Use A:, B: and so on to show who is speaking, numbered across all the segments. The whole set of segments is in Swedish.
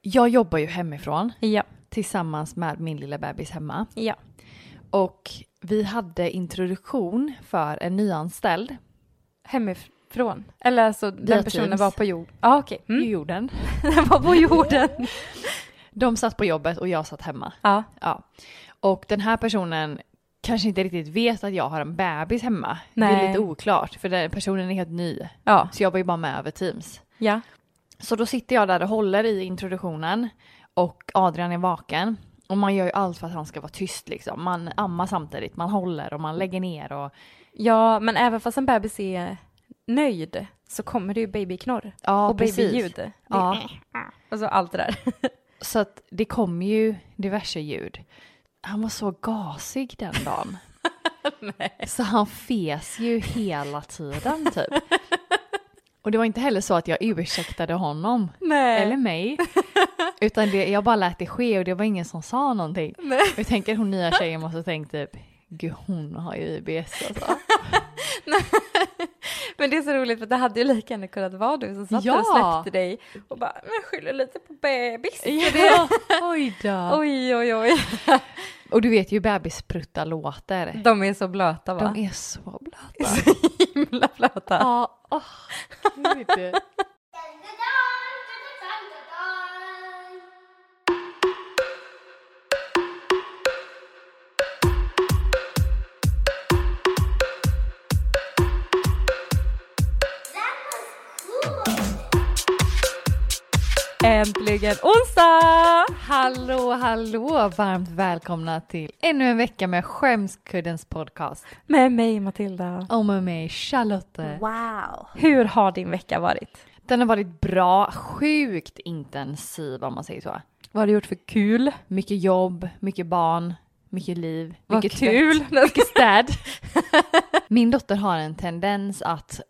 A: Jag jobbar ju hemifrån
B: Ja.
A: tillsammans med min lilla bebis hemma.
B: Ja.
A: Och vi hade introduktion för en nyanställd
B: Hemifrån? Eller alltså
A: Via
B: den personen
A: Teams.
B: var på jorden? Ja, okej.
A: i
B: Mm.
A: jorden.
B: Den var på jorden.
A: De satt på jobbet och jag satt hemma.
B: ja.
A: Ja. Och den här personen kanske inte riktigt vet att jag har en bebis hemma. Det är
B: Nej.
A: lite oklart för den personen är helt ny.
B: Ja.
A: Så jag var ju bara med över Teams.
B: Ja.
A: Så då sitter jag där och håller i introduktionen och Adrian är vaken. Och man gör ju allt för att han ska vara tyst liksom. Man ammar samtidigt, man håller och man lägger ner och
B: Ja, men även fast en bebis är nöjd så kommer det ju babyknorr.
A: ja,
B: och babyljud. Det-
A: Ja,
B: Alltså allt det där.
A: så att det kom ju diverse ljud. Han var så gasig den dagen. Så han fes ju hela tiden typ. Och det var inte heller så att jag ursäktade honom
B: Nej.
A: eller mig. Utan det, jag bara lät det ske och det var ingen som sa någonting.
B: Nej.
A: Jag tänker hon nya tjejen måste tänkt typ Gud hon har ju IBS alltså.
B: Men det är så roligt för det hade ju lika gärna kunnat vara du som satt
A: Ja.
B: där och släppte dig och bara, men jag skyller lite på bebis.
A: Ja, oj då.
B: Oj, oj, oj.
A: Och du vet ju bebisprutta låter.
B: De är så blöta va?
A: De är så blöta.
B: så himla blöta.
A: Ja, åh gud.
B: Äntligen onsdag!
A: Hallå, hallå! Varmt välkomna till ännu en vecka med Skämskuddens podcast.
B: Med mig Matilda.
A: Och med mig Charlotte.
B: Wow. Hur har din vecka varit?
A: Den har varit bra, sjukt intensiv om man säger så.
B: Vad har du gjort för kul?
A: Mycket jobb, mycket barn, mycket liv,
B: Vad
A: mycket tvätt,
B: kul!
A: mycket städ. Min dotter har en tendens att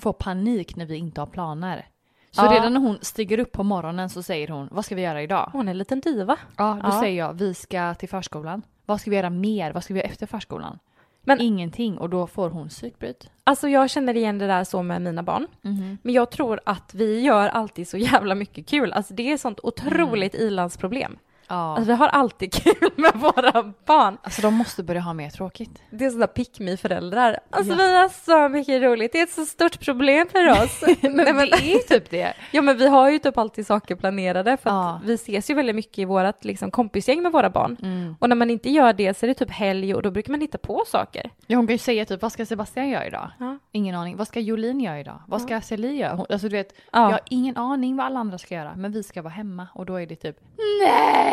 A: få panik när vi inte har planer. Så
B: Ja.
A: redan när hon stiger upp på morgonen så säger hon, vad ska vi göra idag?
B: Hon är en liten diva.
A: Ja, då
B: Ja.
A: säger jag, vi ska till förskolan. Vad ska vi göra mer? Vad ska vi göra efter förskolan?
B: Men-
A: Ingenting och då får hon psykbryt.
B: Alltså jag känner igen det där så med mina barn.
A: Mhm.
B: Men jag tror att vi gör alltid så jävla mycket kul. Alltså det är sånt otroligt ilandsproblem.
A: Ja.
B: Alltså vi har alltid kul med våra barn.
A: Alltså de måste börja ha mer tråkigt.
B: Det är sådana pick me föräldrar. Alltså
A: Ja.
B: vi har så mycket roligt. Det är ett så stort problem för oss. Nej, men,
A: är ju typ det.
B: ja men vi har ju typ alltid saker planerade för att
A: Ja.
B: vi ses ju väldigt mycket i vårat liksom, kompisgäng med våra barn.
A: Mm.
B: Och när man inte gör det så är det typ helg och då brukar man hitta på saker.
A: Ja, hon kan ju säga typ, vad ska Sebastian göra idag?
B: Ja.
A: Ingen aning. Vad ska Jolin göra idag? Vad ska Celie göra? Hon, alltså du vet,
B: Ja.
A: jag har ingen aning vad alla andra ska göra, men vi ska vara hemma och då är det typ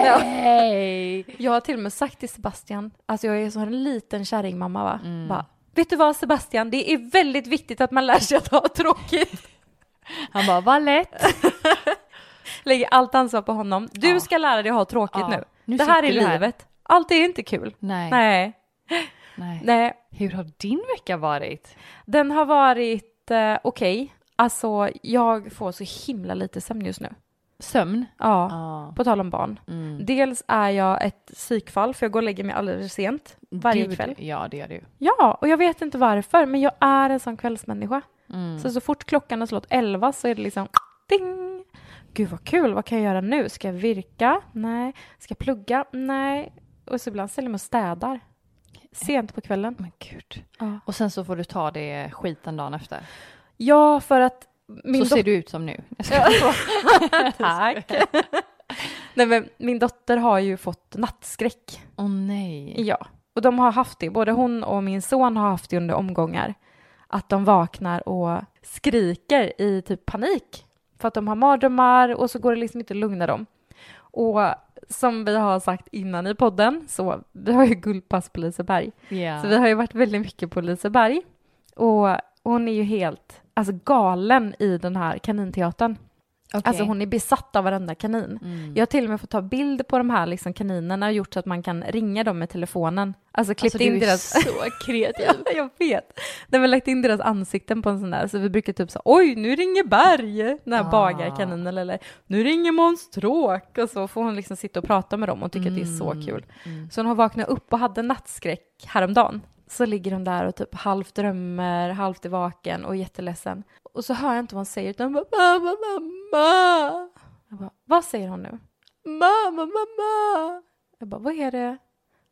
A: nej!
B: Jag har till och med sagt till Sebastian, alltså jag är som en liten kärringmamma va,
A: Mm.
B: bara, vet du vad Sebastian, det är väldigt viktigt att man lär sig att ha tråkigt.
A: Han bara, vad lätt.
B: Lägger allt ansvar på honom. Du
A: Ja.
B: ska lära dig att ha tråkigt
A: Ja.
B: nu.
A: Nu
B: Det här är
A: sitter du här.
B: livet. Allt är inte kul.
A: Nej, nej,
B: Nej. Nej.
A: Hur har din vecka varit?
B: Den har varit eh, okej. Alltså jag får så himla lite sömn just nu.
A: Sömn?
B: Ja,
A: Ja.
B: på tal om barn.
A: Mm.
B: Dels är jag ett psykfall för jag går och lägger mig alldeles för sent varje
A: Gud,
B: kväll.
A: Ja, det gör du.
B: Ja, och jag vet inte varför, men jag är en sån kvällsmänniska.
A: Mm.
B: Så så fort klockan har slått 11 så är det liksom ding! Gud vad kul, vad kan jag göra nu? Ska jag virka? Nej. Ska jag plugga? Nej. Och så ibland ställer jag mig och städar. Sent på kvällen.
A: Men gud.
B: Ja,
A: Och sen så får du ta det skiten dagen efter.
B: ja för att min
A: så ser
B: dotter...
A: du ut som nu. Jag ska-
B: Tack! Nej, men min dotter har ju fått nattskräck.
A: Åh nej.
B: Ja, och de har haft det. Både hon och min son har haft det under omgångar. Att de vaknar och skriker i typ panik. För att de har mardrömmar och så går det liksom inte att lugna dem. Och som vi har sagt innan i podden så vi har ju guldpass på Liseberg.
A: Ja.
B: Så vi har ju varit väldigt mycket på Liseberg. Och hon är ju helt alltså galen i den här kaninteatern.
A: Okej.
B: Alltså hon är besatt av varenda kanin.
A: Mm.
B: Jag har till och med fått ta bild på de här liksom kaninerna och gjort så att man kan ringa dem med telefonen. Alltså klippt
A: Alltså, du
B: in
A: är
B: deras...
A: så kreativ.
B: jag vet. Nej men lagt in deras ansikten på en sån där så vi brukar typ så oj nu ringer Berg, den här
A: Ah.
B: bagarkaninen eller nu ringer Måns Stråk och så får hon liksom sitta och prata med dem och tycker att det är
A: Mm,
B: så kul.
A: mm.
B: Så när hon vaknade upp och hade nattskräck häromdagen så ligger hon där och typ halvt drömmer, halvt är vaken och är jätteledsen. Och så hör jag inte vad hon säger utan hon bara mamma, mamma. Jag Jag bara, vad säger hon nu? Mamma, mamma! Jag bara, vad är det?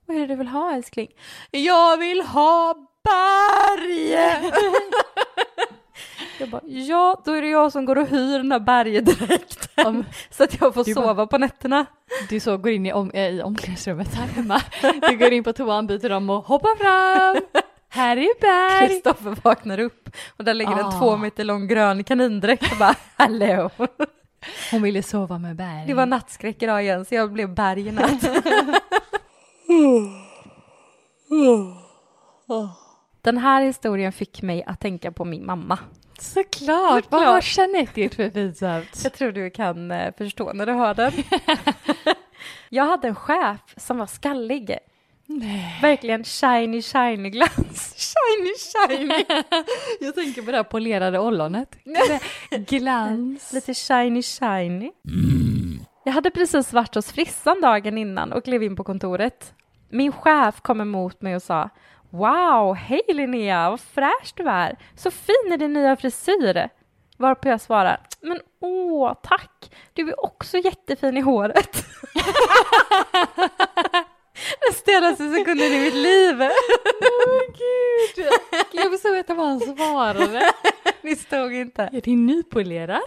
B: Vad är det du vill ha älskling? Jag vill ha berg! jag bara, ja, då är det jag som går och hyr den här bergdräkten
A: Om-
B: så att jag får
A: Du bara-
B: sova på nätterna.
A: Du så går in i, om, eh, i omklädningsrummet här hemma. Du går in på toan, byter om och hoppar fram. Här är berg.
B: Kristoffer vaknar upp och där ligger en
A: Ah.
B: två meter lång grön kanindräkt och bara, hallå!
A: Hon ville sova med berg.
B: Det var nattskräck idag igen så jag blev berg i natt. Den här historien fick mig att tänka på min mamma.
A: Såklart! Vad har Jeanette gjort för pinsamt?
B: Jag tror du kan eh, förstå när du hör den. jag hade en chef som var skallig.
A: Nej.
B: Verkligen shiny, shiny glans. Shiny, shiny.
A: Jag tänker på det här polerade ollonet. Glans.
B: Lite shiny, shiny. Jag hade precis varit hos frissan dagen innan och klev in på kontoret. Min chef kom emot mig och sa Wow, hej Linnea, vad fräsch du är. Så fin är din nya frisyr. Varpå jag svarar Men åh, tack. Du är också jättefin i håret. Den stelaste sekunden i mitt liv.
A: Gud! Jag förstod inte vad han svarade.
B: Ni stod inte.
A: Är det nypolerat?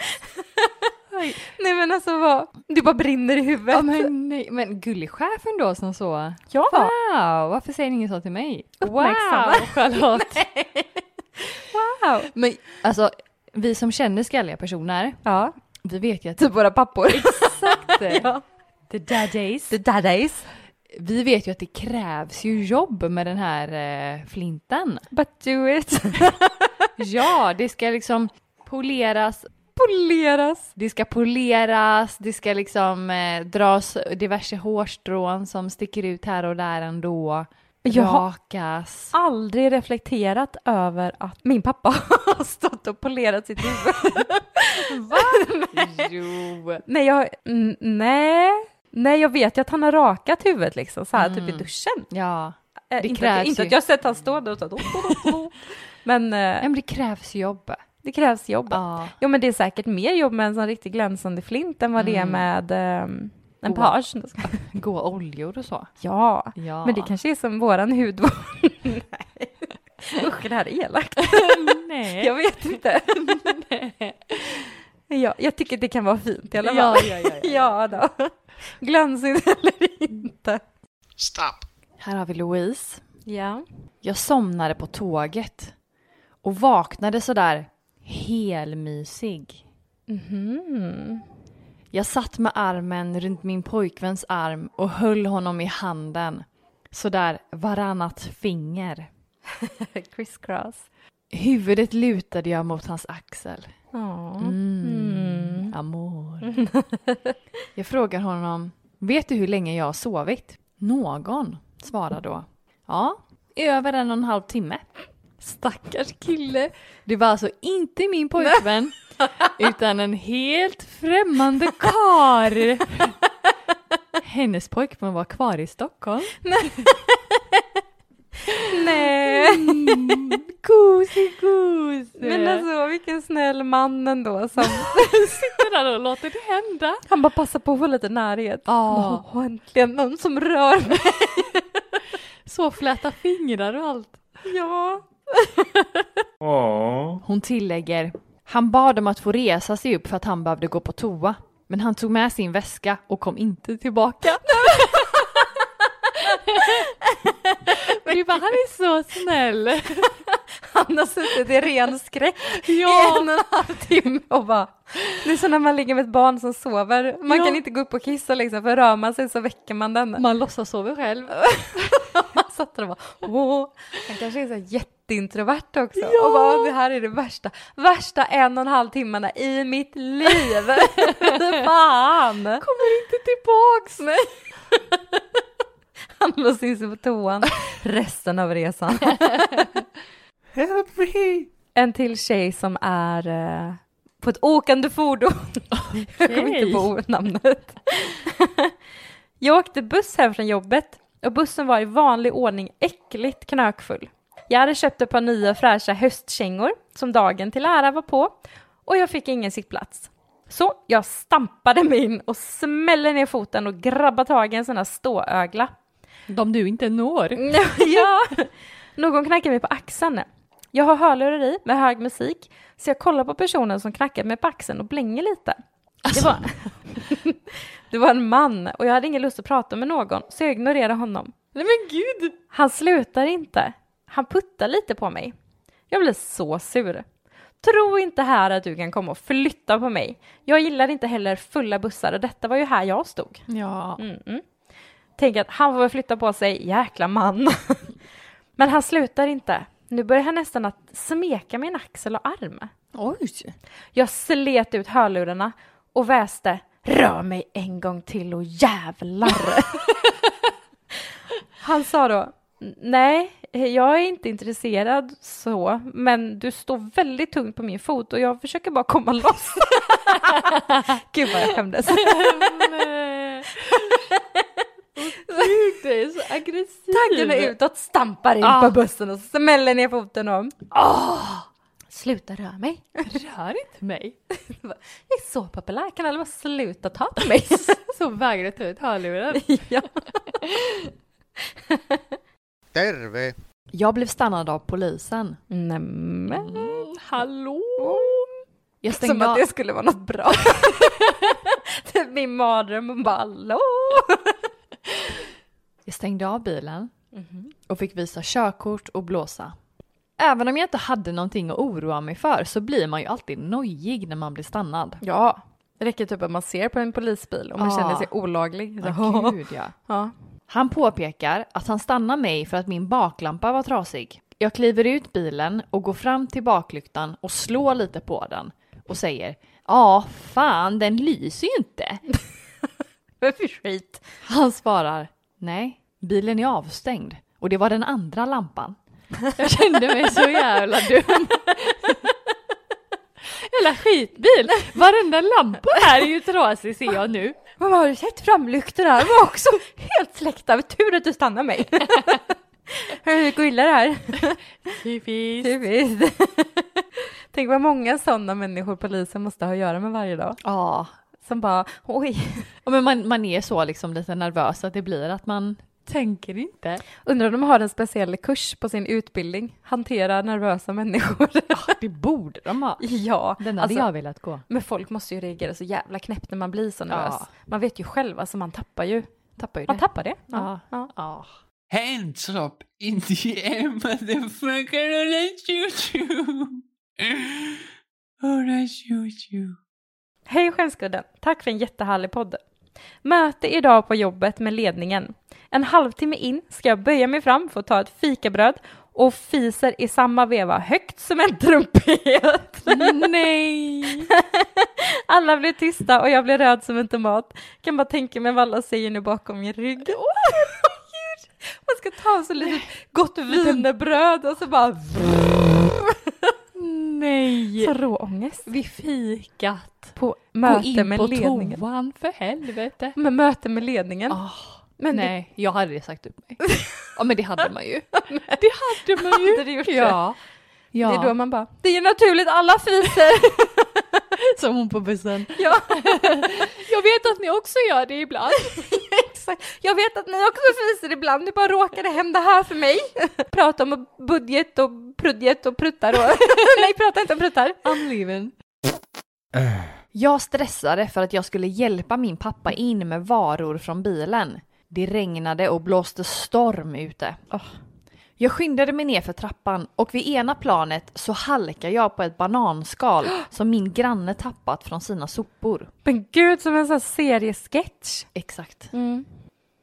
B: Nej men alltså vad, du bara brinner i huvudet.
A: Ja, men, nej. men gullig chef ändå som så.
B: Ja.
A: Wow, varför säger ni inget sånt till mig?
B: Uppmärksamma.
A: Wow, Charlotte.
B: Wow.
A: men alltså, vi som känner skalliga personer,
B: Ja.
A: vi vet ju att
B: Typ våra pappor.
A: exakt
B: Ja.
A: the dad days.
B: The daddies.
A: Vi vet ju att det krävs ju jobb med den här eh, flinten.
B: But do it.
A: Ja, det ska liksom poleras,
B: Poleras.
A: det ska poleras, det ska liksom eh, dras diverse hårstrån som sticker ut här och där ändå.
B: Jag har-
A: Rakas.
B: Aldrig reflekterat över att min pappa har stått och polerat sitt huvud.
A: Jo.
B: Nej, jag, n- nej. nej, jag vet ju att han har rakat huvudet liksom så här typ i duschen.
A: Ja.
B: Eh,
A: Mm. Det
B: inte, att, jag-
A: krävs
B: inte
A: ju.
B: att jag har sett han stå där och så här, Men
A: Ja,
B: eh,
A: Men det krävs jobb.
B: det krävs jobb.
A: Ja.
B: Jo men det är säkert mer jobb med en sån riktigt glänsande flint än vad det
A: Mm.
B: är med ehm, en
A: Åh.
B: page.
A: Gå oljor och så.
B: Ja.
A: Ja.
B: men det kanske är som våran hudvård. Nej. Usch, det här är elakt.
A: Nej.
B: Jag vet inte. ja, jag tycker det kan vara fint i alla fall.
A: Ja, ja, ja, ja,
B: ja då. Glansigt eller inte.
A: Här har vi Louise.
B: Ja.
A: Jag somnade på tåget och vaknade sådär helmysig.
B: Mhm.
A: Jag satt med armen runt min pojkväns arm och höll honom i handen. Sådär varannat finger.
B: Criss cross.
A: Huvudet lutade jag mot hans axel.
B: Ja.
A: Mm. Amor. jag frågar honom, vet du hur länge jag har sovit? Någon svarar då, ja, över en och en halv timme. Stackars kille. Det var alltså inte min pojkvän, utan en helt främmande kar. Hennes pojkvän var kvar i Stockholm.
B: Nej.
A: Gosig gos.
B: Men alltså vilken snäll man ändå som
A: sitter där och låter det hända.
B: han bara passar på att få lite närhet.
A: Ja.
B: Åh, äntligen någon som rör mig.
A: Så fläta fingrar och allt.
B: Ja.
A: Hon tillägger, han bad om att få resa sig upp för att han behövde gå på toa. Men han tog med sin väska och kom inte tillbaka. Men du bara, han är så snäll.
B: Han har suttit i ren skräck i en
A: Ja,
B: och en halv timme och bara... Det är så när man ligger med ett barn som sover. Man
A: Ja.
B: kan inte gå upp och kissa liksom, för rör man sig så väcker man den.
A: man låtsas sova själv.
B: Man satt där och bara åh. Han kanske är så här jätteintrovert också.
A: Ja.
B: Och bara det här är det värsta, värsta en och en halv timmarna i mitt liv. Fy Fan!
A: Kommer inte tillbaks.
B: Nej. Han låste in sig på toan resten av resan.
C: Help me!
B: En till tjej som är eh, på ett åkande fordon. Jag kom inte på namnet. jag åkte buss hem från jobbet och bussen var i vanlig ordning äckligt knökfull. Jag hade köpt ett par nya fräscha höstkängor som dagen till ära var på och jag fick ingen sittplats. Så jag stampade mig in och smäller ner foten och grabbar tag i en sån här ståögla.
A: De du inte når.
B: ja. Någon knackar mig på axeln. Jag har hörlurar i med hög musik, så jag kollar på personen som knackar mig på axeln och blänger lite. Det var, det var en man och jag hade ingen lust att prata med någon, så jag ignorerade honom.
A: Nej men gud!
B: Han slutar inte. Han puttar lite på mig. Jag blir så sur. Tro inte här att du kan komma och flytta på mig. Jag gillar inte heller fulla bussar och detta var ju här jag stod.
A: Ja.
B: Mm, mm. Tänk att han får väl flytta på sig, jäkla man. Men han slutar inte. Nu börjar han nästan att smeka min axel och arm.
A: Oj.
B: Jag slet ut hörlurarna och väste rör mig en gång till och jävlar. Han sa då nej, jag är inte intresserad så, men du står väldigt tungt på min fot och jag försöker bara komma loss. Gud vad jag skämdes.
A: Nej. Gud, det är så aggressivt.
B: Taggarna utåt, stampar in
A: Ah.
B: på bussen och smäller ner foten om. Ah. Sluta röra mig.
A: Rör inte mig.
B: Jag är så populär, kan alla bara sluta ta på mig?
A: Så vägrar ta ut hörlurar.
B: ja.
C: Terve!
A: Jag blev stannad av polisen.
B: Nämen.
A: Hallå! Jag
B: Mm, Som
A: stängde
B: att
A: av.
B: det skulle vara något bra. typ min mardröm och bara hallå.
A: Jag stängde av bilen
B: Mhm.
A: och fick visa körkort och blåsa. Även om jag inte hade någonting att oroa mig för så blir man ju alltid nojig när man blir stannad.
B: Ja, det räcker typ att man ser på en polisbil och man
A: Ah.
B: känner sig olaglig. Så,
A: Ja, gud ja.
B: ja.
A: Han påpekar att han stannar mig för att min baklampa var trasig. Jag kliver ut bilen och går fram till baklyktan och slår lite på den och säger Ja, fan, den lyser ju inte.
B: Vad för skit.
A: Han svarar Nej, bilen är avstängd och det var den andra lampan. Jag kände mig så jävla dum. Jävla skitbil! Varenda lampa här är ju trasig ser jag nu.
B: Mamma har du sett framlyktorna? De var också helt släckta. Tur att du stannar mig. Hur går illa det här?
A: Typiskt.
B: Typiskt. Tänk vad många sådana människor polisen måste ha att göra med varje dag.
A: Ja,
B: Som bara, oj,
A: Ja, men man, man är så liksom lite nervös att det blir att man tänker inte.
B: undrar om de har en speciell kurs på sin utbildning, hantera nervösa människor.
A: Det borde de ha.
B: ja,
A: Den hade
B: alltså,
A: jag velat gå.
B: men folk måste ju reagera så jävla knäppt när man blir så nervös.
A: Ja.
B: Man vet ju själv, alltså man tappar ju,
A: Tappar ju det.
B: man tappar det.
A: Ja.
B: Ja.
A: Ja.
C: Hands up in the air, motherfucker, or I shoot you! Or I shoot you!
B: Hej Skämskudden! Tack för en jättehärlig podd. Möte idag på jobbet med ledningen. En halvtimme in ska jag böja mig fram för att ta ett fikabröd och fiser i samma veva högt som en trumpet.
A: Nej!
B: Alla blir tysta och jag blir röd som en tomat. Kan bara tänka mig vad alla säger nu bakom min rygg. Åh, herregud. Man ska ta så lite gott wienerbröd och så bara...
A: Nej!
B: Så råångest.
A: Vid fikat.
B: På
A: Gå
B: möte
A: in
B: med
A: på
B: ledningen.
A: toan för helvete.
B: Med möte med ledningen. Men det
A: Ah, Nej, jag hade sagt upp mig. Ja men det hade man ju. Det hade man ju.
B: Hade du gjort det?
A: ja. ja.
B: Det är då man bara, det är ju naturligt, alla fiser!
A: Som hon på bussen.
B: ja,
A: Jag vet att ni också gör det ibland.
B: exakt. Jag vet att ni också fiser ibland, det bara råkade hända här för mig. prata om budget och prudget och pruttar och... Nej, prata inte om pruttar.
A: Unleaven. Jag stressade för att jag skulle hjälpa min pappa in med varor från bilen. Det regnade och blåste storm ute. Jag skyndade mig ner för trappan och vid ena planet så halkar jag på ett bananskal som min granne tappat från sina sopor.
B: Men gud, som en sån här seriesketch.
A: Exakt.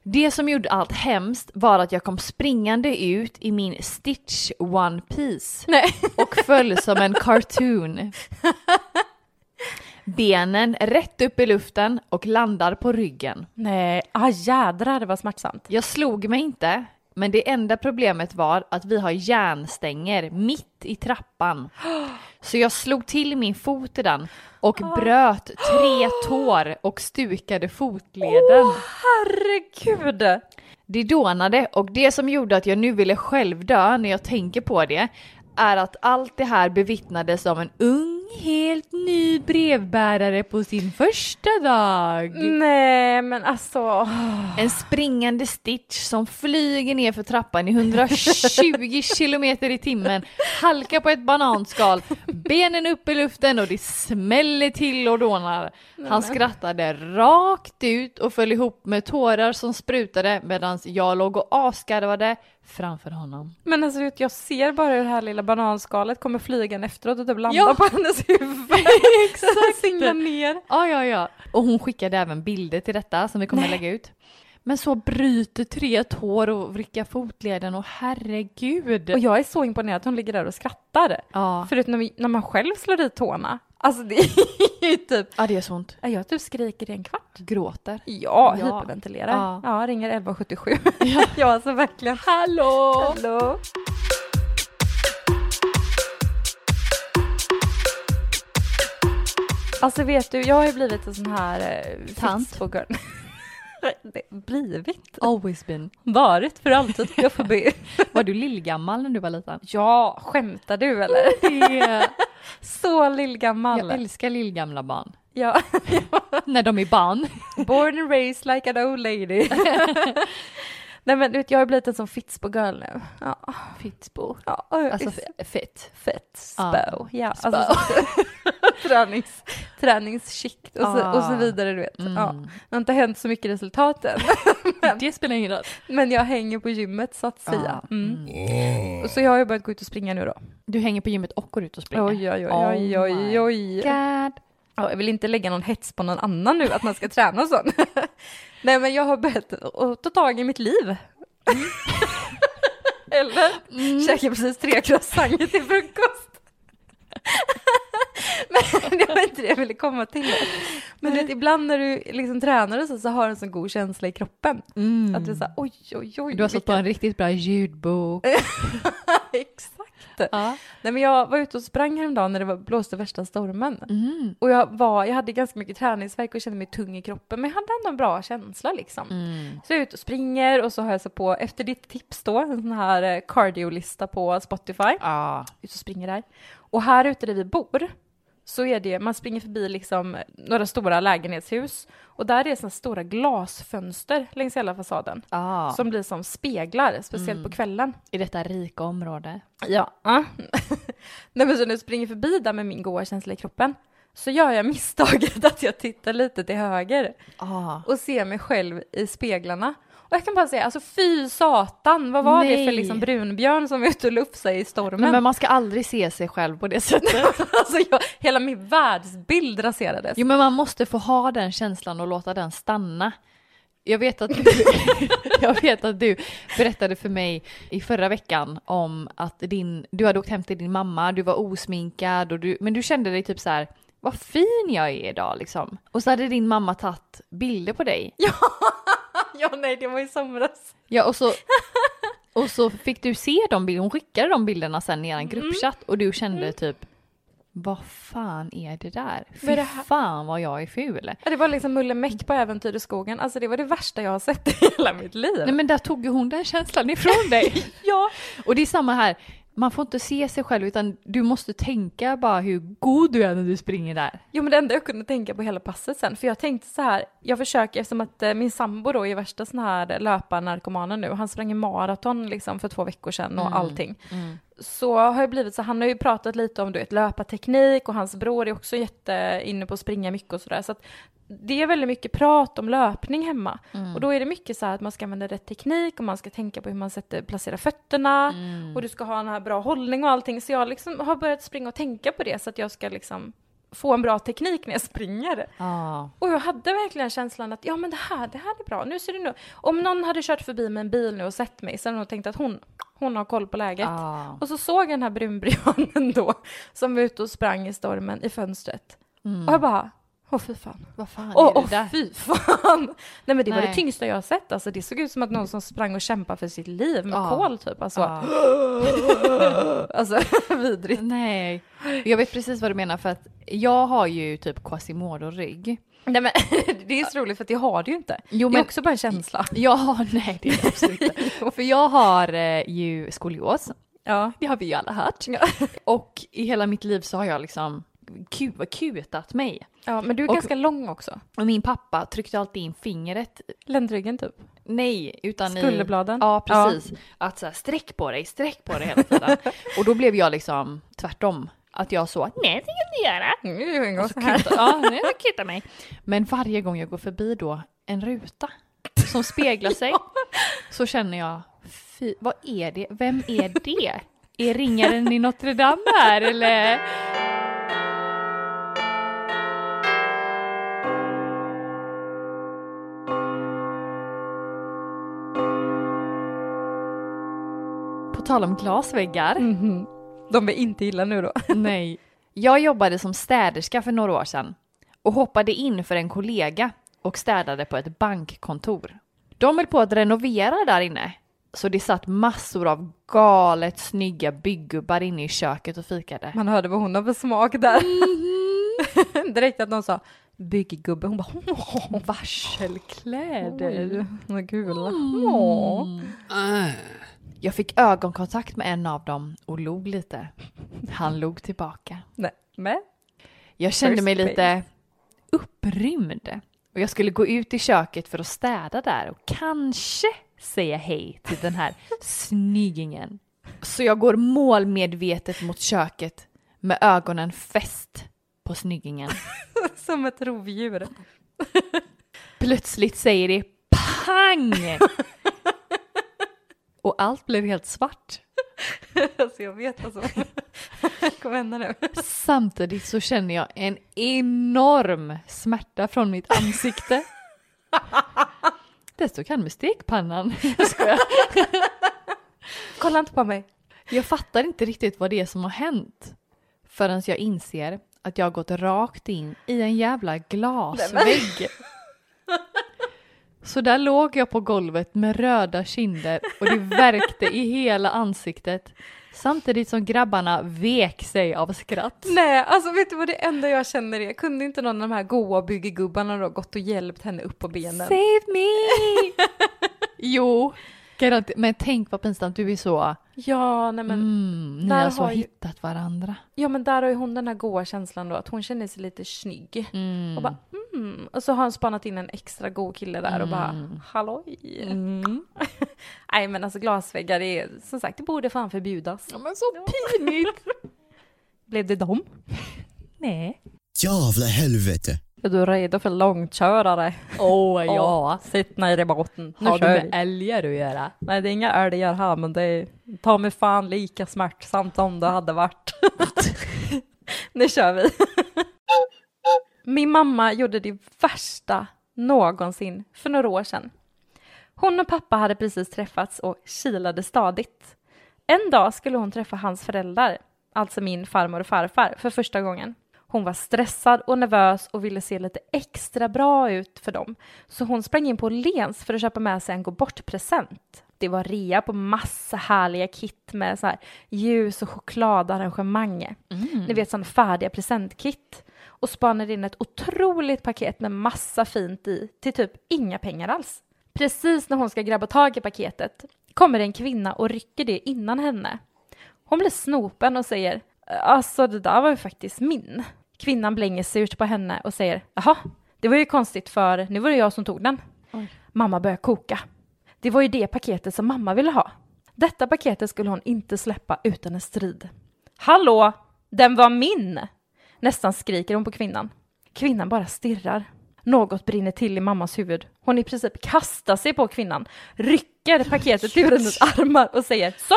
A: Det som gjorde allt hemskt var att jag kom springande ut i min Stitch One Piece
B: Nej.
A: och föll som en cartoon. Benen rätt upp i luften och landar på ryggen.
B: Nej, ah jädrar det var smärtsamt.
A: Jag slog mig inte, men det enda problemet var att vi har järnstänger mitt i trappan. Så jag slog till min fot i den och bröt tre tår och stukade fotleden.
B: Herregud!
A: Det dånade och det som gjorde att jag nu ville själv dö när jag tänker på det är att allt det här bevittnades av en ung helt ny brevbärare på sin första dag.
B: Nej, men alltså. åh.
A: En springande Stitch som flyger ner för trappan i 120 kilometer i timmen, halkar på ett bananskal, benen upp i luften och det smäller till och dånar. Han skrattade rakt ut och föll ihop med tårar som sprutade medan jag låg och asgarvade framför honom.
B: Men alltså, vet, jag ser bara hur det här lilla bananskalet kommer flygan efteråt och typ landar
A: Ja.
B: på hennes huvud. Exakt. Singlar ner.
A: Ja, ja, ja. Och hon skickade även bilder till detta som vi kommer lägga ut. Men så bryter tre tår och vrickar fotleden och herregud.
B: Och jag är så imponerad att hon ligger där och skrattar.
A: ja.
B: Förutom när, när man själv slår i tårna. Alltså det är ju typ,
A: ja, det är så ont.
B: ja, jag typ skriker i en kvart.
A: Gråter.
B: Ja,
A: Ja.
B: hyperventilerar.
A: Ja.
B: Ja. ringer 1177. Ja, alltså verkligen.
A: Hallå!
B: Hallå! Alltså vet du, jag har ju blivit en sån här... Eh,
A: Tant.
B: fitspågörn. Det- blivit?
A: Always been.
B: Varit för alltid, jag får be.
A: Var du lillgammal när du var liten?
B: Ja, skämtar du eller? Så
A: Jag
B: lillgammal.
A: älskar lillgamla barn.
B: Ja.
A: När de är barn.
B: Born and raised like an old lady. Nej men du vet, jag har blivit en sån Fitsbo-girl nu. Ja,
A: Fittbo.
B: ja.
A: Alltså
B: Fitsbo.
A: f- fett.
B: Fitsbo. Ja,
A: Spö.
B: alltså tränings, träningsskikt och, så, och så
A: Ah.
B: vidare du vet. Ja.
A: Mm.
B: Det har inte hänt så mycket resultat än,
A: Det spelar ingen roll.
B: men jag hänger på gymmet så att säga.
A: Ja.
B: Mm.
A: Mm.
B: Och Så jag har ju börjat gå ut och springa nu då.
A: Du hänger på gymmet och går ut och springer.
B: Oj, oj, oj,
A: Oh
B: oj, oj,
A: my
B: oj.
A: God.
B: Ja, jag vill inte lägga någon hets på någon annan nu att man ska träna och sånt. Nej, men jag har börjat att ta tag i mitt liv.
A: Mm.
B: Eller? Käkade Mm. precis tre croissanter till frukost. men det var inte det jag ville komma till. Men du vet, ibland när du liksom tränar och så, så har du en sån god känsla i kroppen.
A: Mm.
B: Att du säger oj, oj, oj.
A: Du har satt på en riktigt bra ljudbok.
B: vilken- Exakt.
A: Ja.
B: Nej, men jag var ute och sprang häromdagen när det var, blåste värsta stormen.
A: Mm.
B: Och jag, var, jag hade ganska mycket träningsvärk och kände mig tung i kroppen, men jag hade ändå en bra känsla liksom.
A: Mm.
B: Så jag är ute och springer och så har jag så på, efter ditt tips då, en sån här eh, cardio-lista på Spotify.
A: Ja.
B: Ut och springer där. Och här ute där vi bor så är det, man springer förbi liksom några stora lägenhetshus och där är såna stora glasfönster längs hela fasaden.
A: Ja. Mm.
B: Som blir som speglar, speciellt på kvällen.
A: I detta rika område.
B: Ja. Nej men så när jag springer förbi där med min goa känsla i kroppen så gör jag misstaget att jag tittar lite till höger
A: Ja.
B: och ser mig själv i speglarna. Och jag kan bara säga, alltså fy satan, vad var det för
A: Nej.
B: liksom brunbjörn som var ute och lufsade i stormen?
A: Men, men man ska aldrig se sig själv på det sättet.
B: alltså jag, hela min världsbild raserades.
A: Jo men man måste få ha den känslan och låta den stanna. Jag vet att du, jag vet att du berättade för mig i förra veckan om att din, du hade åkt hem till din mamma, du var osminkad och du, men du kände dig typ så här, vad fin jag är idag liksom. Och så hade din mamma tagit bilder på dig.
B: Ja, nej, det var i somras.
A: Ja och så, och så fick du se de bilderna, hon skickade de bilderna sen i
B: Mm.
A: en gruppchatt och du kände typ, vad fan är det där? Fy
B: Men det här-
A: fan vad jag är ful.
B: Ja, Det var liksom Mulle Meck på Äventyr i skogen. Alltså det var det värsta jag har sett i hela mitt liv.
A: Nej men där tog ju hon den känslan ifrån dig.
B: ja,
A: Och det är samma här, man får inte se sig själv utan du måste tänka bara hur god du är när du springer där.
B: Jo men det enda jag kunde tänka på hela passet sen, för jag tänkte så här, jag försöker eftersom att eh, min sambo då är värsta sån här eh, löparnarkomanen nu, han sprang en maraton liksom för två veckor sedan och allting. Så har jag blivit så, han har ju pratat lite om du vet löparteknik och hans bror är också jätte inne på att springa mycket och sådär. Så att det är väldigt mycket prat om löpning hemma. Och då är det mycket så här att man ska använda rätt teknik och man ska tänka på hur man sätter, placerar fötterna och du ska ha en här bra hållning och allting. Så jag liksom har börjat springa och tänka på det så att jag ska liksom få en bra teknik när jag springer.
A: Ja.
B: Och jag hade verkligen känslan att ja men det här, det här är bra, nu ser det nu. Om någon hade kört förbi med en bil nu och sett mig så hade de tänkt att hon, hon har koll på läget.
A: Ja.
B: Och så såg jag den här brunbrianen då som var ute och sprang i stormen i fönstret. Och jag bara, åh fy fan.
A: Vad fan
B: Åh
A: är Mm. det
B: åh,
A: där?
B: fy fan! Nej men det var
A: Nej.
B: det tyngsta jag har sett alltså. Det såg ut som att någon som sprang och kämpade för sitt liv med
A: Ja.
B: kol typ. Alltså,
A: Ja.
B: alltså vidrigt.
A: Nej, jag vet precis vad du menar för att jag har ju typ Quasimodo-rygg.
B: Nej men det är så roligt för att jag har det ju inte.
A: Jo,
B: Det är
A: men-
B: också bara en känsla.
A: Ja, nej det är det absolut inte. För jag har eh, ju skolios.
B: Ja.
A: Det har vi ju alla hört. Och i hela mitt liv så har jag liksom ku- kutat mig.
B: Ja, men du är
A: Och-
B: ganska lång också.
A: Och min pappa tryckte alltid in fingret,
B: Ländryggen typ.
A: nej, utan i...
B: Skulderbladen.
A: Ja, precis. Att så här, sträck på dig, sträck på dig hela tiden. och då blev jag liksom tvärtom. Att jag så, nej Mm, det kan du inte göra.
B: Ja. Nu är det en gång så här.
A: Kuta, ja, nej, jag kutar mig. Men varje gång jag går förbi då en ruta som speglar sig så känner jag, fy, vad är det, vem är det? Är ringaren i Notre Dame här eller? På tal om glasväggar.
B: Mhm. De är inte illa nu då.
A: Nej. Jag jobbade som städerska för några år sedan och hoppade in för en kollega och städade på ett bankkontor. De höll på att renovera där inne, så det satt massor av galet snygga byggubbar inne i köket och fikade.
B: Man hörde vad hon har för smak där.
A: Mm-hmm.
B: Direkt att någon sa bygggubbe. Hon bara åh,
A: Varselkläder.
B: vad gula. Åh.
C: Ah.
A: Jag fick ögonkontakt med en av dem och log lite. Han log tillbaka.
B: Nej, men
A: Jag kände
B: First
A: mig
B: base.
A: lite upprymd och jag skulle gå ut i köket för att städa där och kanske säga hej till den här snyggingen. Så jag går målmedvetet mot köket med ögonen fäst på snyggingen.
B: som ett rovdjur.
A: Plötsligt säger det pang! Och allt blev helt svart.
B: Alltså jag vet alltså. Kom hända nu.
A: Samtidigt så känner jag en enorm smärta från mitt ansikte. Desto kan med stekpannan. Jag skojar.
B: Kolla inte på mig.
A: Jag fattar inte riktigt vad det är som har hänt förrän jag inser att jag har gått rakt in i en jävla glasvägg. Så där låg jag på golvet med röda kinder och det värkte i hela ansiktet samtidigt som grabbarna vek sig av skratt.
B: Nej, alltså vet du vad det enda jag känner är? Kunde inte någon av de här goa byggegubbarna då gått och hjälpt henne upp på benen?
A: Save me! jo, garanti- men tänk vad pinsamt, du är så,
B: Ja, nej men,
A: mm, ni
B: där
A: har så
B: har ju-
A: hittat varandra.
B: ja, men där har ju hon den här goa känslan då, att hon känner sig lite snygg.
A: Mm.
B: Och bara mm. Och så har han spanat in en extra god kille där och bara halloj.
A: Mm.
B: Nej men alltså glasväggar det är som sagt det borde fan förbjudas.
A: Ja, men så pinigt!
B: Blev det dem?
A: Nej.
D: Jävla helvete.
B: Är du redo för långkörare?
A: Åh ja,
B: Ja. Sitt ner i båten. Nu
A: har du
B: kör
A: med
B: vi.
A: älgar att göra?
B: Nej det är inga älgar här men det är ta mig fan lika smärtsamt om det hade varit. nu kör vi. Min mamma gjorde det värsta någonsin för några år sedan. Hon och pappa hade precis träffats och kilade stadigt. En dag skulle hon träffa hans föräldrar, alltså min farmor och farfar, för första gången. Hon var stressad och nervös och ville se lite extra bra ut för dem. Så hon sprang in på Lens för att köpa med sig en gå bort-present. Det var rea på massa härliga kit med så här ljus och chokladarrangemang. Ni vet sådana färdiga presentkit. Och spanade in ett otroligt paket med massa fint i till typ inga pengar alls. Precis när hon ska grabba tag i paketet kommer en kvinna och rycker det innan henne. Hon blir snopen och säger alltså det där var ju faktiskt min. Kvinnan blänger surt på henne och säger jaha, det var ju konstigt för nu var det jag som tog den. Mamma börjar koka. Det var ju det paketet som mamma ville ha. Detta paketet skulle hon inte släppa utan en strid. Hallå, den var min! Nästan skriker hon på kvinnan. Kvinnan bara stirrar. Något brinner till i mammas huvud. Hon i princip kastar sig på kvinnan, rycker paketet ur hennes armar och säger så,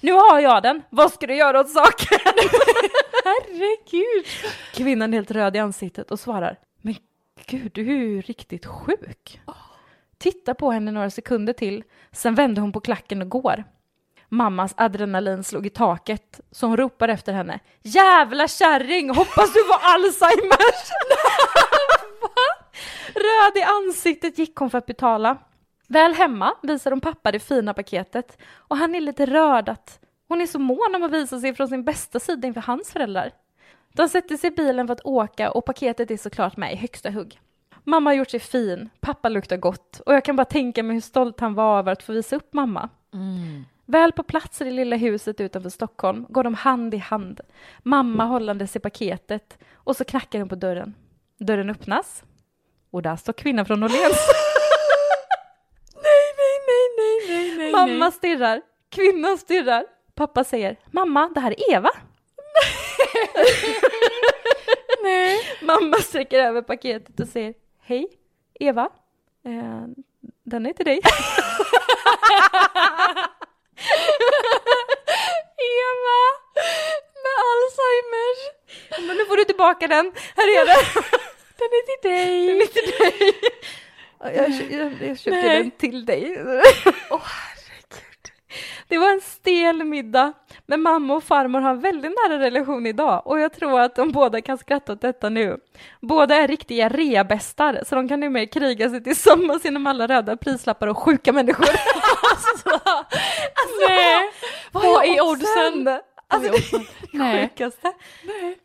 B: nu har jag den, vad ska du göra åt saken? Herregud! Kvinnan är helt röd i ansiktet och svarar, men gud du är ju riktigt sjuk. Tittar på henne några sekunder till, sen vänder hon på klacken och går. Mammas adrenalin slog i taket, så hon ropar efter henne. Jävla kärring, hoppas du får Alzheimers! Va? Röd i ansiktet gick hon för att betala. Väl hemma visar hon pappa det fina paketet och han är lite rörd att hon är så mån om att visa sig från sin bästa sida inför hans föräldrar. De sätter sig i bilen för att åka och paketet är såklart med i högsta hugg. Mamma har gjort sig fin, pappa luktar gott och jag kan bara tänka mig hur stolt han var över att få visa upp mamma. Väl på plats i det lilla huset utanför Stockholm går de hand i hand, mamma hållandes i paketet och så knackar hon på dörren. Dörren öppnas och där står kvinnan från Åhléns.
A: Nej, nej, nej, nej, nej, nej.
B: Mamma stirrar, kvinnan stirrar. Pappa säger, mamma, det här är Eva.
A: nej.
B: Mamma sträcker över paketet och säger, hej, Eva, eh, den är till dig. Eva, med Alzheimers. Men nu får du tillbaka den, här är den. Den är till dig. Den är till dig. Ja, Jag, kö- jag, jag köpte
A: Nej.
B: den till dig. Åh herregud. Det var en stel middag, men mamma och farmor har en väldigt nära relation idag och jag tror att de båda kan skratta åt detta nu. Båda är riktiga reabästar så de kan nu med kriga sig tillsammans genom alla röda prislappar och sjuka människor. alltså,
A: Nej.
B: vad,
A: Vad
B: är
A: är
B: oddsen?
A: oddsen?
B: Alltså det är det
A: Nej.
B: sjukaste.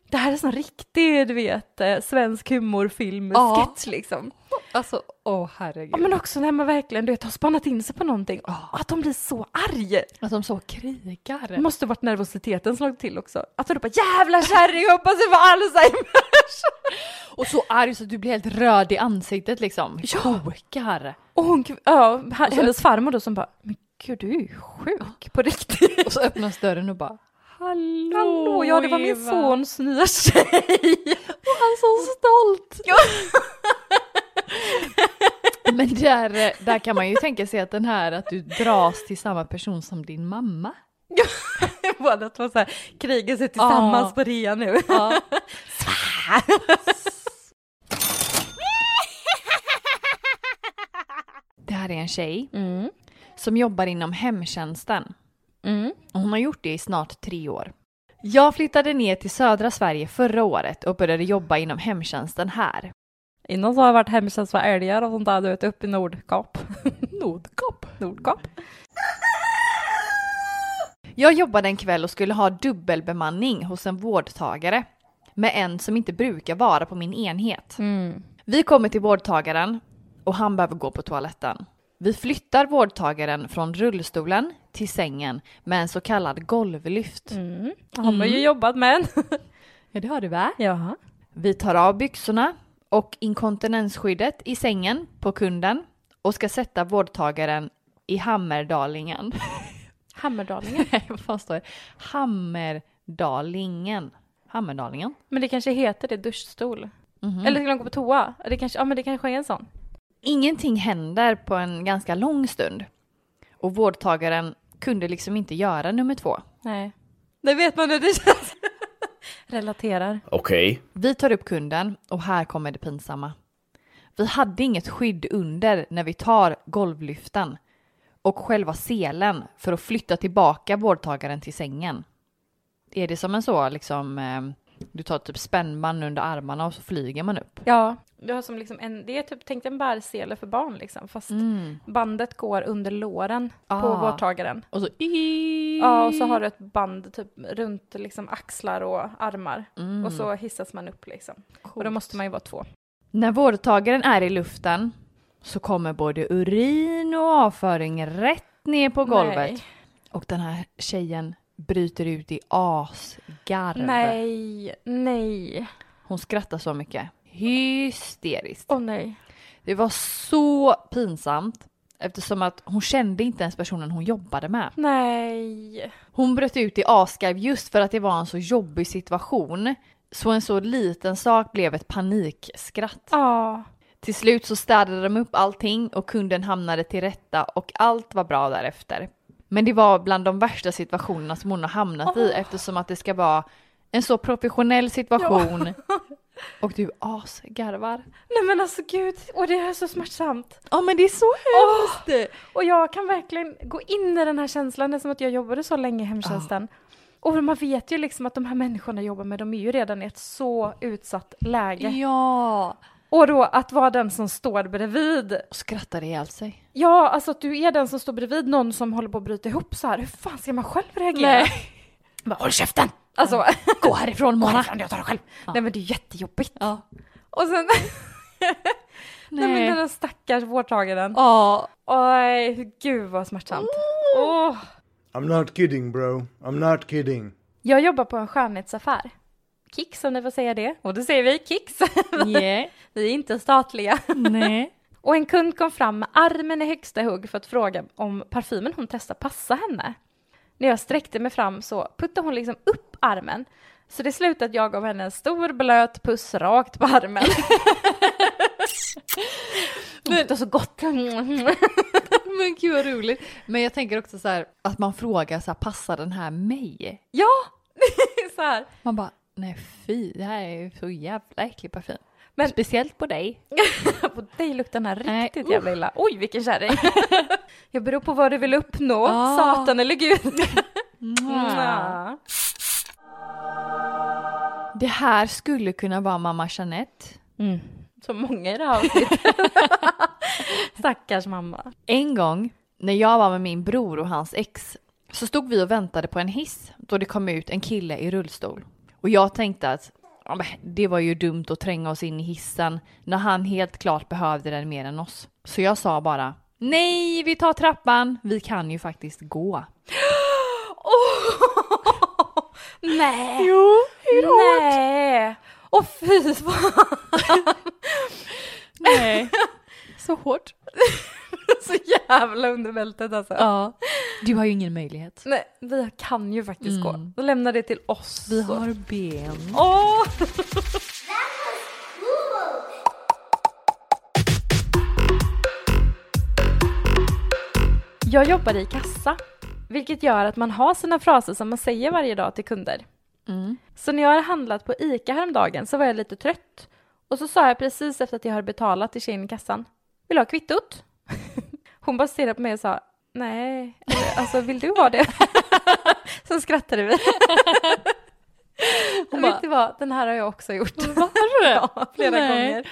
B: Det här är sån riktig, du vet, eh, svensk humorfilm,
A: Ja.
B: sketch liksom.
A: Alltså, åh
B: Ja,
A: herregud.
B: men också när man verkligen, du vet, har spannat in sig på någonting. Ah, Att de blir så arg.
A: Att de så krigar.
B: Det måste varit nervositeten som låg till också. Att de bara jävla kärring, jag hoppas du får Alzheimers.
A: Och så arg så att du blir helt röd i ansiktet liksom. Kokar.
B: Och hon, ja, han- hennes farmor då som bara, men gud du är ju sjuk på riktigt.
A: Och så öppnas dörren och bara Hallå,
B: Hallå, ja det var min
A: Eva.
B: sons nya tjej.
A: Han är så stolt! Men där, eh, där kan man ju tänka sig att den här att du dras till samma person som din mamma.
B: Båda två så här, krigar sig tillsammans
A: Ja.
B: på rea nu.
A: Ja. Det här är en tjej
B: Mm.
A: som jobbar inom hemtjänsten.
B: Mm.
A: Och Hon har gjort det i snart tre år. Jag flyttade ner till södra Sverige förra året och började jobba inom hemtjänsten här.
B: Innan så har jag varit hemtjänst för älgar och sånt där, du vet, uppe i Nordkap. Nordkap? Nordkap.
A: Jag jobbade en kväll och skulle ha dubbelbemanning hos en vårdtagare med en som inte brukar vara på min enhet.
B: Mm.
A: Vi kommer till vårdtagaren och han behöver gå på toaletten. Vi flyttar vårdtagaren från rullstolen till sängen med en så kallad golvlyft.
B: Han har ju jobbat med en.
A: Ja, det har du va?
B: Jaha.
A: Vi tar av byxorna och inkontinensskyddet i sängen på kunden och ska sätta vårdtagaren i hammerdalingen.
B: Hammerdalingen.
A: Nej, vad fan står det? Hammerdalingen. Hammerdalingen.
B: Men det kanske heter det duschstol. Eller skulle de gå på toa? Det kanske, ja men det kanske är en sån.
A: Ingenting händer på en ganska lång stund och vårdtagaren kunde liksom inte göra nummer två.
B: Nej. Det vet man nu, det känns. Relaterar.
E: Okej.
A: Vi tar upp kunden och här kommer det pinsamma. Vi hade inget skydd under när vi tar golvlyften och själva selen för att flytta tillbaka vårdtagaren till sängen. Är det som en så liksom, eh, du tar typ spännband under armarna och så flyger man upp?
B: Ja. Du har som liksom en, det är typ, tänk dig en bärsele för barn liksom, fast bandet går under låren på
A: Ah.
B: vårdtagaren.
A: Och så...
B: Ja, och så har du ett band typ runt liksom axlar och armar. Och
A: Mm.
B: så hissas man upp liksom. Och då måste man ju vara två.
A: När vårdtagaren är i luften så kommer både urin och avföring rätt ner på golvet.
B: Nej.
A: Och den här tjejen bryter ut i asgarv.
B: Nej, nej.
A: Hon skrattar så mycket. Hysteriskt.
B: Åh nej.
A: Det var så pinsamt eftersom att hon kände inte ens personen hon jobbade med.
B: Nej.
A: Hon bröt ut i asgarv just för att det var en så jobbig situation. Så en så liten sak blev ett panikskratt.
B: Ja.
A: Till slut så städade de upp allting och kunden hamnade till rätta och allt var bra därefter. Men det var bland de värsta situationerna som hon har hamnat i eftersom att det ska vara en så professionell situation och du asgarvar.
B: Nej men alltså gud, och det är så smärtsamt.
A: Ja men det är så hemskt!
B: Och jag kan verkligen gå in i den här känslan, det är som att jag jobbade så länge i hemtjänsten. Och man vet ju liksom att de här människorna jag jobbar med, de är ju redan i ett så utsatt läge.
A: Ja!
B: Och då att vara den som står bredvid.
A: Och skrattar ihjäl sig.
B: Ja, alltså att du är den som står bredvid någon som håller på att bryta ihop så här. Hur fan ska man själv reagera? Bara, Håll käften! Alltså,
A: Gå härifrån Mona!
B: jag tar det själv. Nej men det är jättejobbigt.
A: Ja.
B: Och sen, nej men den där stackars vårdtagaren.
A: Ja.
B: Mm. Oj, gud vad smärtsamt. Åh.
E: I'm not kidding bro. I'm not kidding.
B: Jag jobbar på en skönhetsaffär. Kicks om ni får säga det. Och då säger vi Kicks.
A: Yeah.
B: vi är inte statliga.
A: Nej.
B: Och en kund kom fram med armen i högsta hugg för att fråga om parfymen hon testar passar henne. När jag sträckte mig fram så puttade hon liksom upp armen. Så det slutade att jag gav henne en stor blöt puss rakt på armen. Det luktar så gott.
A: Men gud vad roligt. Men jag tänker också så här att man frågar så här, passar den här mig?
B: ja, så här.
A: Man bara, nej fy, det här är ju så jävla äcklig parfym.
B: Men-
A: Speciellt på dig.
B: På dig luktar den här
A: Nej,
B: riktigt
A: usch.
B: jävla illa. Oj, vilken kärring. jag beror på vad du vill uppnå.
A: Ah.
B: Satan eller gud.
A: Mwah.
B: Mwah.
A: Det här skulle kunna vara mamma Jeanette.
B: Så många i det här avsnittet. Stackars mamma.
A: En gång när jag var med min bror och hans ex så stod vi och väntade på en hiss då det kom ut en kille i rullstol. Och jag tänkte att "Ja, men det var ju dumt att tränga oss in i hissen när han helt klart behövde den mer än oss. Så jag sa bara nej, vi tar trappan. Vi kan ju faktiskt gå.
B: Nej!
A: Jo,
B: Nej! Åh fy fan!
A: Nej. Så hårt.
B: Så jävla under bältet alltså.
A: Ja. Du har ju ingen möjlighet.
B: Nej, vi kan ju faktiskt
A: Mm.
B: gå. Då lämnar det till oss.
A: Vi har ben.
B: Åh! Jag jobbar i kassa, vilket gör att man har sina fraser som man säger varje dag till kunder.
A: Mm.
B: Så när jag hade handlat på ICA häromdagen så var jag lite trött. Och så sa jag precis efter att jag hade betalat till tjejen i kassan. Vill du ha kvittot? Hon bara stirrade på mig och sa nej, eller, alltså vill du ha det? Sen skrattade vi. Hon
A: bara-
B: Vet du vad, den här har jag också gjort.
A: Har du det?
B: Ja, flera
A: Nej.
B: gånger.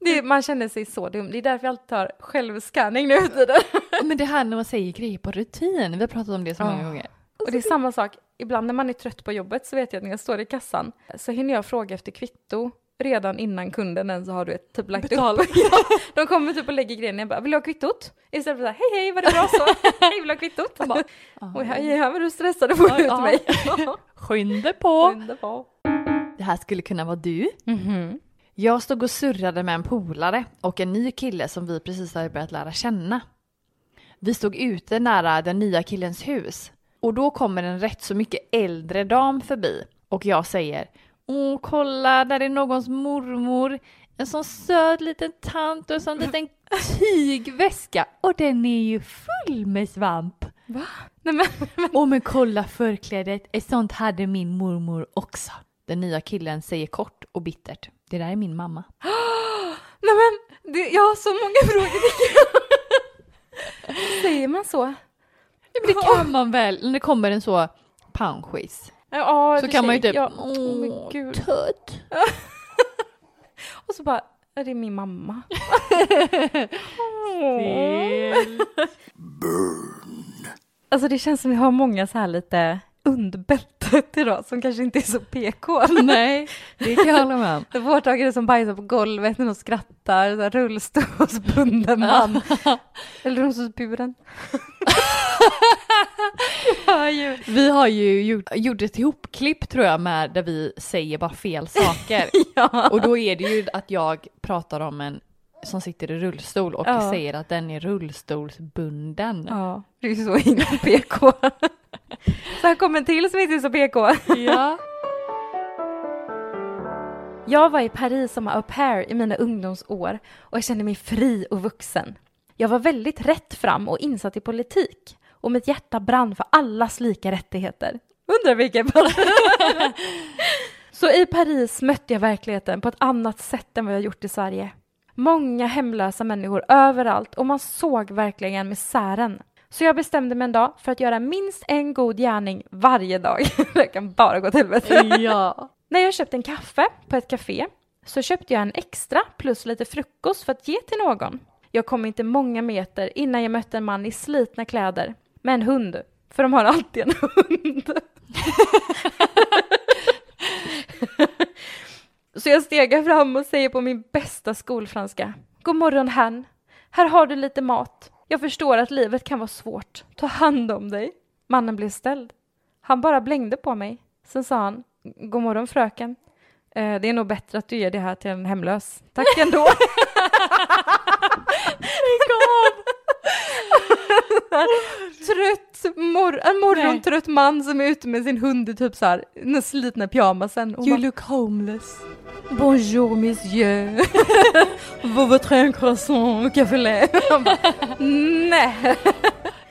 B: Det, man känner sig så dum. Det är därför jag alltid tar självskanning nu för tiden.
A: Men det här när man säger grejer på rutin. Vi har pratat om det så många
B: Ja.
A: gånger.
B: Och det är samma sak, ibland när man är trött på jobbet så vet jag att när jag står i kassan så hinner jag fråga efter kvitto redan innan kunden ens har du vet, typ lagt upp. Ja, de kommer typ och lägger grejen jag bara vill du ha kvittot? Istället för så här, hej hej var det bra så? hej vill du ha kvittot? Och bara, Oj hej hej vad du stressade att få
A: Ja,
B: ut
A: ja.
B: mig.
A: Skynda på!
B: Underbar.
A: Det här skulle kunna vara du.
B: Mhm.
A: Jag stod och surrade med en polare och en ny kille som vi precis hade börjat lära känna. Vi stod ute nära den nya killens hus och då kommer en rätt så mycket äldre dam förbi och jag säger Åh kolla, där är någons mormor. En sån söt liten tant och en sån liten tygväska och den är ju full med svamp.
B: Nej, men,
A: Åh men kolla förklädet, ett sånt hade min mormor också. Den nya killen säger kort och bittert. Det där är min mamma.
B: nej men det, jag har så många frågor. Säger man så?
A: Det kan man väl, när det kommer en så panschis.
B: Ja, i och
A: Så
B: för
A: kan man ju
B: sig.
A: typ,
B: Ja,
A: åh
B: men gud.
A: tött.
B: Och så bara, är det min mamma? Alltså det känns som vi har många så här lite under bältet idag som kanske inte är så PK.
A: Nej, det kan jag hålla med om.
B: Vårdtagare som bajsar på golvet när de skrattar, så här rullstolsbunden man. Eller rullstolsburen. ja, ju.
A: Vi har ju gjort, gjort ett ihopklipp tror jag med där vi säger bara fel saker.
B: ja.
A: Och då är det ju att jag pratar om en som sitter i rullstol och
B: Ja.
A: säger att den är rullstolsbunden.
B: ja, det är ju så himla PK. så här kommer en till som inte är så PK.
A: Ja.
B: Jag var i Paris som au pair i mina ungdomsår och jag kände mig fri och vuxen. Jag var väldigt rätt fram och insatt i politik och mitt hjärta brann för allas lika rättigheter. Undrar vilken Så i Paris mötte jag verkligheten på ett annat sätt än vad jag gjort i Sverige. Många hemlösa människor överallt och man såg verkligen misären. Så jag bestämde mig en dag för att göra minst en god gärning varje dag. Det kan bara gå till helvete.
A: ja.
B: När jag köpte en kaffe på ett café så köpte jag en extra plus lite frukost för att ge till någon. Jag kom inte många meter innan jag mötte en man i slitna kläder med en hund, för de har alltid en hund. så jag stegar fram och säger på min bästa skolfranska. God morgon herrn. Här har du lite mat. Jag förstår att livet kan vara svårt. Ta hand om dig. Mannen blev ställd. Han bara blängde på mig. Sen sa han, god morgon fröken. Eh, det är nog bättre att du ger det här till en hemlös. Tack ändå. trött, mor- en morgontrött man som är ute med sin hund i typ så här, den slitna pyjamasen. Och man-
A: look homeless.
B: Bonjour monsieur. Vous votre un croissant au café lait. Han bara, Nej.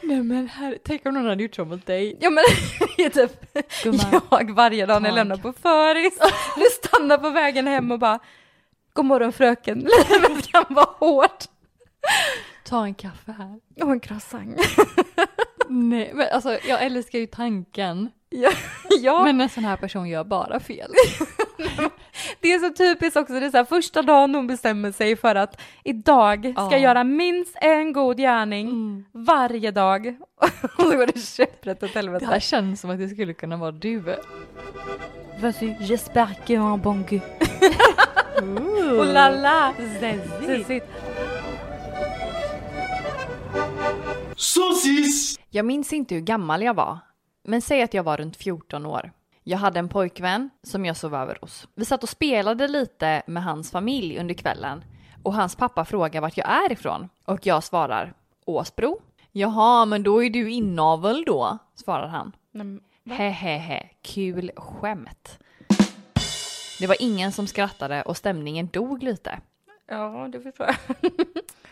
A: Nej men här, tänk om någon hade gjort så mot dig.
B: Ja men det är typ
A: Gumman.
B: jag varje dag när jag
A: Tack.
B: lämnar på föris. Nu stannar på vägen hem och bara God morgon fröken, livet kan vara hårt.
A: Ta en kaffe här.
B: Och en croissant.
A: Nej men alltså jag älskar ju tanken.
B: Ja, ja.
A: Men en sån här person gör bara fel.
B: Det är så typiskt också, det är så här, första dagen hon bestämmer sig för att idag ska
A: Ja.
B: jag göra minst en god gärning
A: Mm.
B: varje dag. Och så går det käpprätt åt helvete.
A: Det här känns som att det skulle kunna vara du.
B: Vas-y, j'espère que un bon goût. Oh la la! Zezit.
A: Jag minns inte hur gammal jag var, men säg att jag var runt 14 år. Jag hade en pojkvän som jag sov över hos. Vi satt och spelade lite med hans familj under kvällen och hans pappa frågar vart jag är ifrån och jag svarar Åsbro. Jaha, men då är du inavel då, svarar han. Hehehe, kul skämt. Det var ingen som skrattade och stämningen dog lite.
B: Ja, det förstår jag.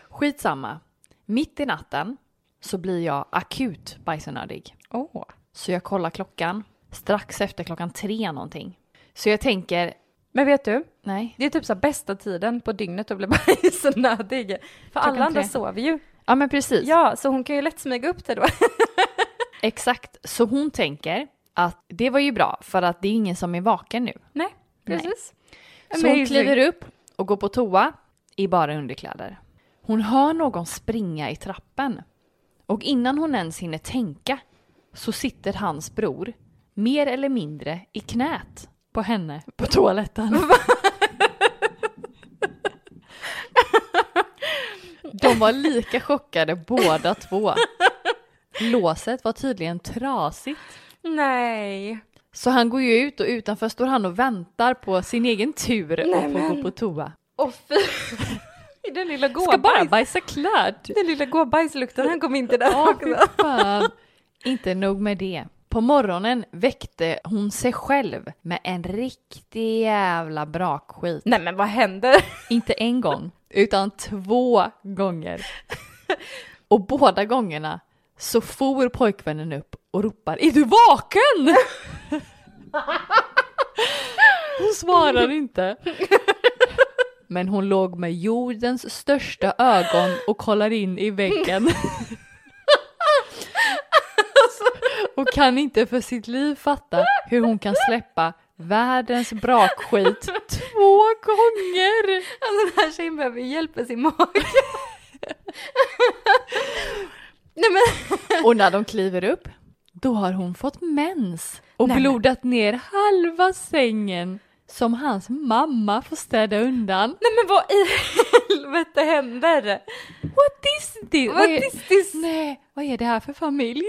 A: Skitsamma. Mitt i natten så blir jag akut bajsnödig.
B: Åh.
A: Så jag kollar klockan. Strax efter klockan tre någonting. Så jag tänker,
B: Men vet du,
A: nej.
B: det är typ så här bästa tiden på dygnet att bli bajsnödig. För alla andra
A: tre.
B: sover ju.
A: Ja men precis.
B: Ja, så hon kan ju lätt smyga upp det då.
A: Exakt. Så hon tänker att det var ju bra för att det är ingen som är vaken nu.
B: Nej, precis.
A: Så hon kliver upp och går på toa i bara underkläder. Hon hör någon springa i trappen. Och innan hon ens hinner tänka så sitter hans bror mer eller mindre i knät på henne på toaletten. De var lika chockade båda två. Låset var tydligen trasigt.
B: Nej.
A: Så han går ju ut och utanför står han och väntar på sin egen tur och får gå på toa.
B: Åh fy. I den lilla
A: Ska bara
B: gåbajs.
A: bajsa klart.
B: Den lilla gåbajslukten, han kom in till den också.
A: Fan. Inte nog med det. På morgonen väckte hon sig själv med en riktig jävla brakskit.
B: Nej men vad händer?
A: Inte en gång, utan två gånger. Och båda gångerna så for pojkvännen upp och ropar Är du vaken? Hon svarar inte. Men hon låg med jordens största ögon och kollar in i väggen. Och kan inte för sitt liv fatta hur hon kan släppa världens brakskit två gånger.
B: Alltså den här tjejen behöver ju hjälp med sin mage. Nej men,
A: Och när de kliver upp, då har hon fått mens och blodat ner halva sängen som hans mamma får städa undan.
B: nej men vad i helvete händer?
A: What is this?
B: What
A: är-
B: is this?
A: Nej, vad är det här för familj?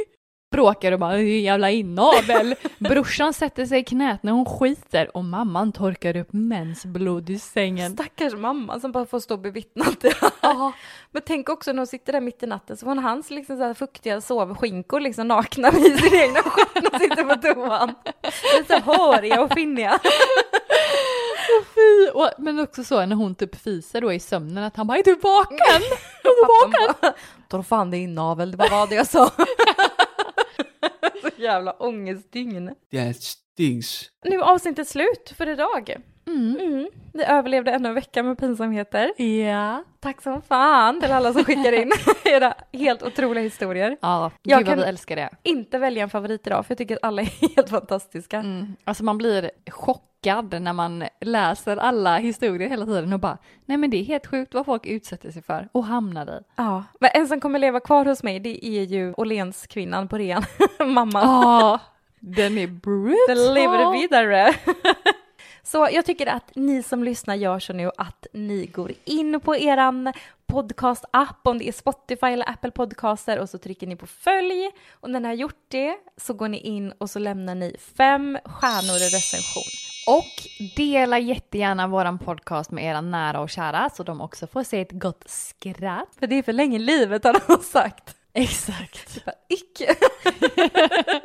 A: Bråkar och bara "Det är en jävla inavel. Brorsan sätter sig i knät när hon skiter och mamman torkar upp mensblod i sängen.
B: Stackars mamma som bara får stå och bevittna det här.
A: Ja,
B: Men tänk också när hon sitter där mitt i natten så får hon hans liksom så här fuktiga sovskinkor liksom nakna i sin egna skit när hon sitter på toan. Det är så här håriga och finniga.
A: fy. Och- Men också så när hon typ fiser då i sömnen att han bara är du vaken? Är du vaken?
B: Dra fan det inavel, det var vad jag sa. så jävla ångestdygn.
C: That stinks.
B: Nu är avsnittet slut för idag. Mm. Vi överlevde ännu en vecka med pinsamheter.
A: Ja.
B: Tack som fan till alla som skickar in era helt otroliga historier.
A: Ja, gud
B: Jag
A: vad
B: kan-
A: vi älskar det.
B: Inte välja en favorit idag för jag tycker att alla är helt fantastiska.
A: Mm. Alltså man blir chockad när man läser alla historier hela tiden och bara nej men det är helt sjukt vad folk utsätter sig för och hamnar i.
B: Ja, men en som kommer leva kvar hos mig det är ju Åhléns kvinnan på rean, mamman.
A: Ja, den är brutal.
B: Den lever vidare. Så jag tycker att ni som lyssnar gör så nu att ni går in på eran podcast-app, om det är Spotify eller Apple Podcaster, och så trycker ni på följ. Och när ni har gjort det så går ni in och så lämnar ni fem stjärnor i recension.
A: Och dela jättegärna våran podcast med era nära och kära så de också får se ett gott skratt.
B: För det är för länge livet har de sagt.
A: Exakt.
B: Bara, Icke.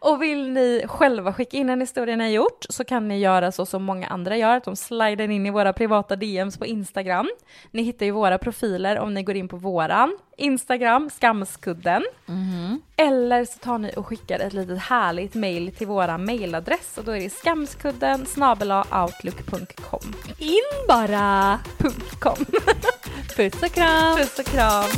B: Och vill ni själva skicka in en historia ni har gjort så kan ni göra så som många andra gör, att de slidar in i våra privata DMs på Instagram. Ni hittar ju våra profiler om ni går in på våran Instagram, skamskudden. Eller så tar ni och skickar ett litet härligt mail till våra mailadress och då är det skamskudden outlook.com.
A: In bara!
B: Punkt com.
A: Puss och kram!
B: Puss och kram!